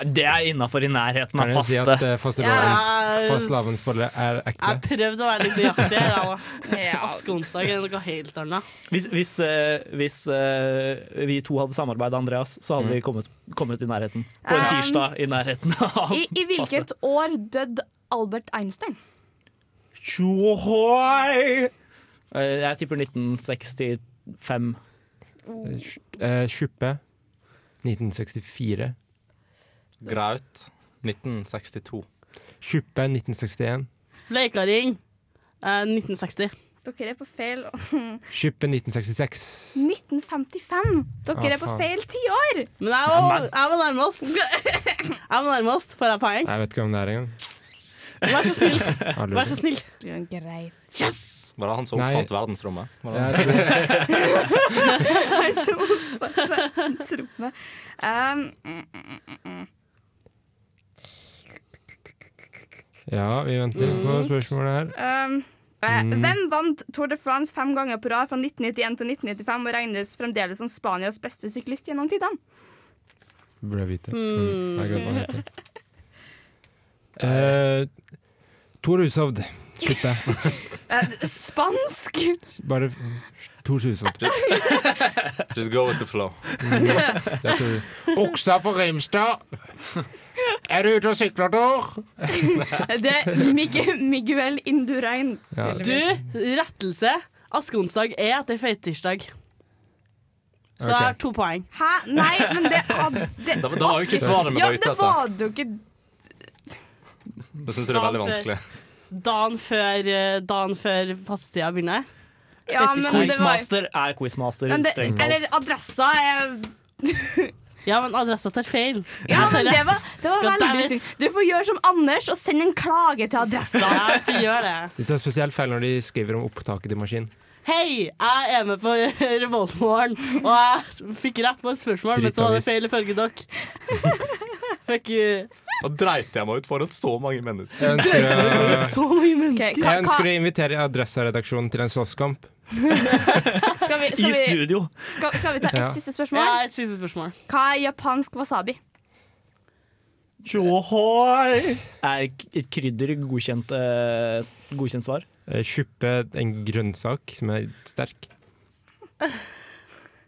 Speaker 4: Det er innafor i nærheten av
Speaker 6: Kan jeg si
Speaker 4: faste.
Speaker 6: at, eh, fastelavns-
Speaker 2: Ja.
Speaker 6: fastelavnsboller er ekle?
Speaker 2: Jeg prøvde å være litt nøyaktig. her, da.
Speaker 3: Ja.
Speaker 2: Askeonsdag er noe helt annet.
Speaker 4: Hvis, hvis, eh, hvis eh, vi to hadde samarbeidet, Andreas, så
Speaker 6: Mm.
Speaker 4: hadde vi kommet, kommet i nærheten. På en
Speaker 3: Um,
Speaker 4: tirsdag i nærheten av
Speaker 3: I, I hvilket år døde Albert Einstein?
Speaker 4: Tjohoi! Eh, Jeg tipper 1965.
Speaker 6: Eh, Tjuppe. 1964.
Speaker 7: Graut. 1962.
Speaker 6: Tjuppe 1961.
Speaker 2: Løykaring. eh, 1960.
Speaker 3: Dere er på feil
Speaker 6: Tjuppe 1966.
Speaker 3: 1955! Dere
Speaker 6: Ah,
Speaker 3: er på
Speaker 6: faen.
Speaker 3: feil tiår!
Speaker 2: Men jeg
Speaker 6: Ja,
Speaker 2: var,
Speaker 6: men-
Speaker 2: jeg var nærmest. Jeg var nærmest. Får jeg poeng?
Speaker 6: Jeg vet ikke hvem det er engang.
Speaker 2: Vær så snill.
Speaker 6: Ja, lurer.
Speaker 2: Vær så snill.
Speaker 3: Greit.
Speaker 2: Yes!
Speaker 7: Var det han som
Speaker 6: Nei.
Speaker 7: oppfant verdensrommet? Var det
Speaker 6: Ja,
Speaker 7: han?
Speaker 3: (laughs) Jeg så opp på verdensrommet. Um, mm, mm, mm, mm.
Speaker 6: Ja, vi venter på
Speaker 3: Mm.
Speaker 6: spørsmålet her.
Speaker 3: Um, eh,
Speaker 6: Mm.
Speaker 3: Hvem vant Tour de France fem ganger på rad fra 1991 til 1995 og regnes fremdeles som Spanias beste syklist gjennom tidene?
Speaker 6: Burde jeg vite.
Speaker 3: Mm.
Speaker 6: Jeg glemte hva han heter.
Speaker 3: (laughs)
Speaker 6: Eh, Tor Hushovd. Tjuppe.
Speaker 3: Eh, spansk!
Speaker 6: Bare f- Tor Hushovd.
Speaker 7: Just go with the (laughs) flow.
Speaker 6: Det tror du. Oksa på Rimstad. Er du ute og sykler, Tor?
Speaker 3: Det er Mig- Miguel Indurain.
Speaker 6: Ja.
Speaker 3: tydeligvis.
Speaker 2: Du, rettelse. Askeonsdag er etter feitirsdag. Så jeg
Speaker 7: Ok.
Speaker 2: har to poeng.
Speaker 3: Hæ? Nei, men det hadde
Speaker 7: Da- da var jo ikke svaret vi
Speaker 3: ja,
Speaker 7: var ute
Speaker 3: det
Speaker 7: etter.
Speaker 3: var det jo ikke.
Speaker 7: Nå syns jeg det er veldig vanskelig.
Speaker 2: Dagen før, eh, dagen før fastetida begynner.
Speaker 3: Ja, men det var-
Speaker 4: Quizmaster er quizmaster,
Speaker 3: Men det,
Speaker 4: strengt
Speaker 3: eller
Speaker 4: talt.
Speaker 3: adressa er (laughs)
Speaker 2: Ja, men adressa tar feil.
Speaker 3: Ja, men det var, det var
Speaker 2: God damn
Speaker 3: veldig
Speaker 2: it.
Speaker 3: sykt. Du får gjøre som Anders og sende en klage til (laughs) adressa.
Speaker 2: Ja, jeg skal gjøre det.
Speaker 6: De tar spesielt feil når de skriver om opptaket til
Speaker 3: (laughs)
Speaker 6: maskin.
Speaker 2: Hei, jeg er med på (laughs) Revoltmorgen, og jeg fikk rett på et spørsmål, men så var det
Speaker 7: Drittavis.
Speaker 2: feil ifølge
Speaker 3: (laughs)
Speaker 2: dere. eh, Fuck you.
Speaker 7: Da dreit jeg meg ut foran så mange mennesker.
Speaker 6: Jeg ønsker å-
Speaker 2: Så mange mennesker.
Speaker 6: Jeg ønsker å invitere Adressa-redaksjonen til en slåsskamp.
Speaker 3: Skal altså, vi, skal vi, skal, skal vi ta
Speaker 6: Ja.
Speaker 3: ett siste spørsmål?
Speaker 2: Ja, et siste spørsmål.
Speaker 3: Hva er japansk wasabi?
Speaker 4: Tjohoi! Er k- et krydder godkjent, eh, godkjent svar?
Speaker 6: Eh, Tjuppe en grønnsak som er sterk.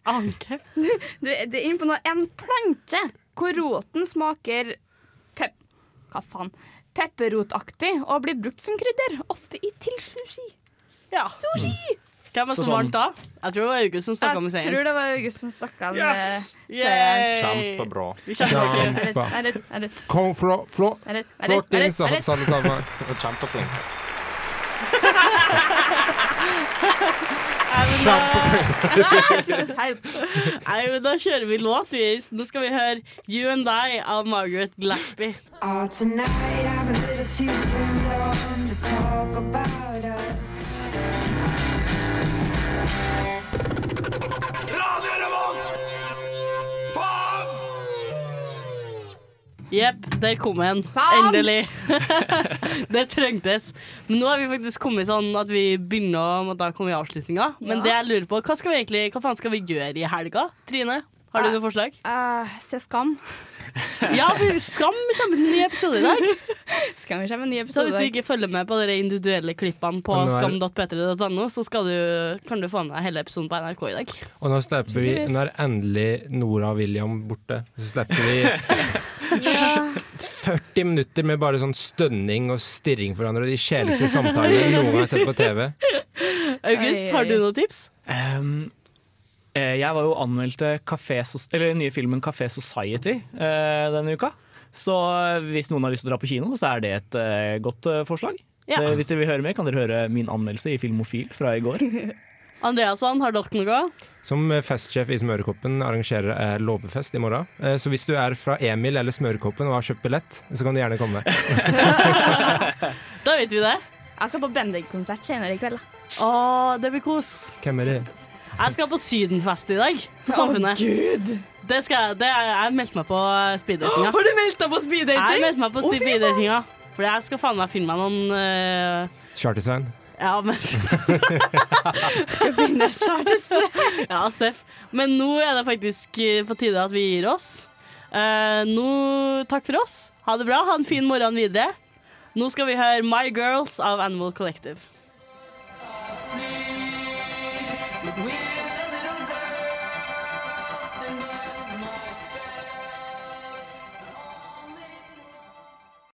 Speaker 2: Anke?
Speaker 3: Du, det er inne på noe. En plante hvor roten smaker pep... Hva faen? Pepperrotaktig og blir brukt som krydder, ofte i til sushi.
Speaker 2: Ja.
Speaker 3: Sushi!
Speaker 2: Hvem var det
Speaker 3: Så
Speaker 2: som
Speaker 3: sånn-
Speaker 2: vant da? Jeg tror det var August som snakka med
Speaker 3: Jeg
Speaker 2: seieren.
Speaker 3: tror det var August som snakka om
Speaker 2: Yes!
Speaker 3: eh,
Speaker 2: Yay!
Speaker 7: Kjempebra.
Speaker 2: Vi kjemper ikke.
Speaker 6: Kjempe.
Speaker 3: Er det- er det-
Speaker 6: Kom, flå, flå,
Speaker 3: er det- er det-
Speaker 6: flott
Speaker 3: er
Speaker 6: inn,
Speaker 3: det-
Speaker 6: sa
Speaker 3: er det-
Speaker 6: sa alle sammen.
Speaker 7: Kjempeflink.
Speaker 2: Nei,
Speaker 3: Jesus, help.
Speaker 2: Nei, men da kjører vi låt, vi. Nå skal vi høre You and I av Margaret Glassby.
Speaker 14: Oh, tonight I'm a little too turned on to talk about us.
Speaker 5: Radio Revolt!
Speaker 2: Jepp, der kom en. Endelig. (laughs) det trengtes. Men nå er vi faktisk kommet sånn at vi begynner å da komme i avslutninga. Men
Speaker 3: Ja.
Speaker 2: det jeg lurer på, hva skal vi egentlig Hva faen skal vi gjøre i helga? Trine, har du noe forslag?
Speaker 3: Eh, se Skam.
Speaker 2: Ja, vi- Skam kommer med en ny episode i dag.
Speaker 3: Skam kommer med en ny
Speaker 2: (laughs) Så
Speaker 3: episode.
Speaker 2: hvis du ikke følger med på de individuelle klippene på
Speaker 6: Og nå er-
Speaker 2: skam.p3.no, så skal du, kan du få med hele episoden på NRK i dag.
Speaker 6: Og nå slipper vi
Speaker 2: Tydeligvis.
Speaker 6: Nå er endelig Nora og William borte. Så slipper vi 40 minutter med bare sånn stønning og stirring for hverandre og de kjedeligste samtalene jeg noen gang har sett på TV.
Speaker 2: August, har du noen tips?
Speaker 4: Ehm, eh, jeg var jo anmeldt til Café Soc- eller den nye filmen Café Society eh, denne uka. Så eh, hvis noen har lyst til å dra på kino, så er det et eh, godt eh, forslag.
Speaker 2: Ja.
Speaker 4: Det, hvis dere vil høre mer, kan dere høre min anmeldelse i Filmofil fra i går.
Speaker 2: Andreasson, har dere noe?
Speaker 6: Som eh, festsjef i Smørekoppen arrangerer jeg låvefest i morgen. Eh, Så hvis du er fra Emil eller Smørekoppen og har kjøpt billett, så kan du gjerne komme.
Speaker 2: Da vet vi det.
Speaker 3: Jeg skal på Bendik-konsert senere i kveld.
Speaker 2: Å, det blir kos.
Speaker 6: Hvem er det?
Speaker 2: Jeg skal på Sydenfest i dag, på
Speaker 3: Å,
Speaker 2: Samfunnet.
Speaker 3: Gud.
Speaker 2: Det skal jeg, det er, jeg meldte meg på speeddatinga.
Speaker 3: Har du meldt deg på speeddating?
Speaker 2: Jeg meldte meg på
Speaker 3: Å, fy
Speaker 2: speeddatinga. For jeg skal faen meg finne meg noen eh,
Speaker 6: Charter-Svein.
Speaker 2: Ja,
Speaker 3: (laughs)
Speaker 2: men Ja, Seff. Men nå er det faktisk eh, på tide at vi gir oss. Eh, nå, takk for oss. Ha det bra. Ha en fin morgen videre. Nå skal vi høre My Girls av Animal Collective.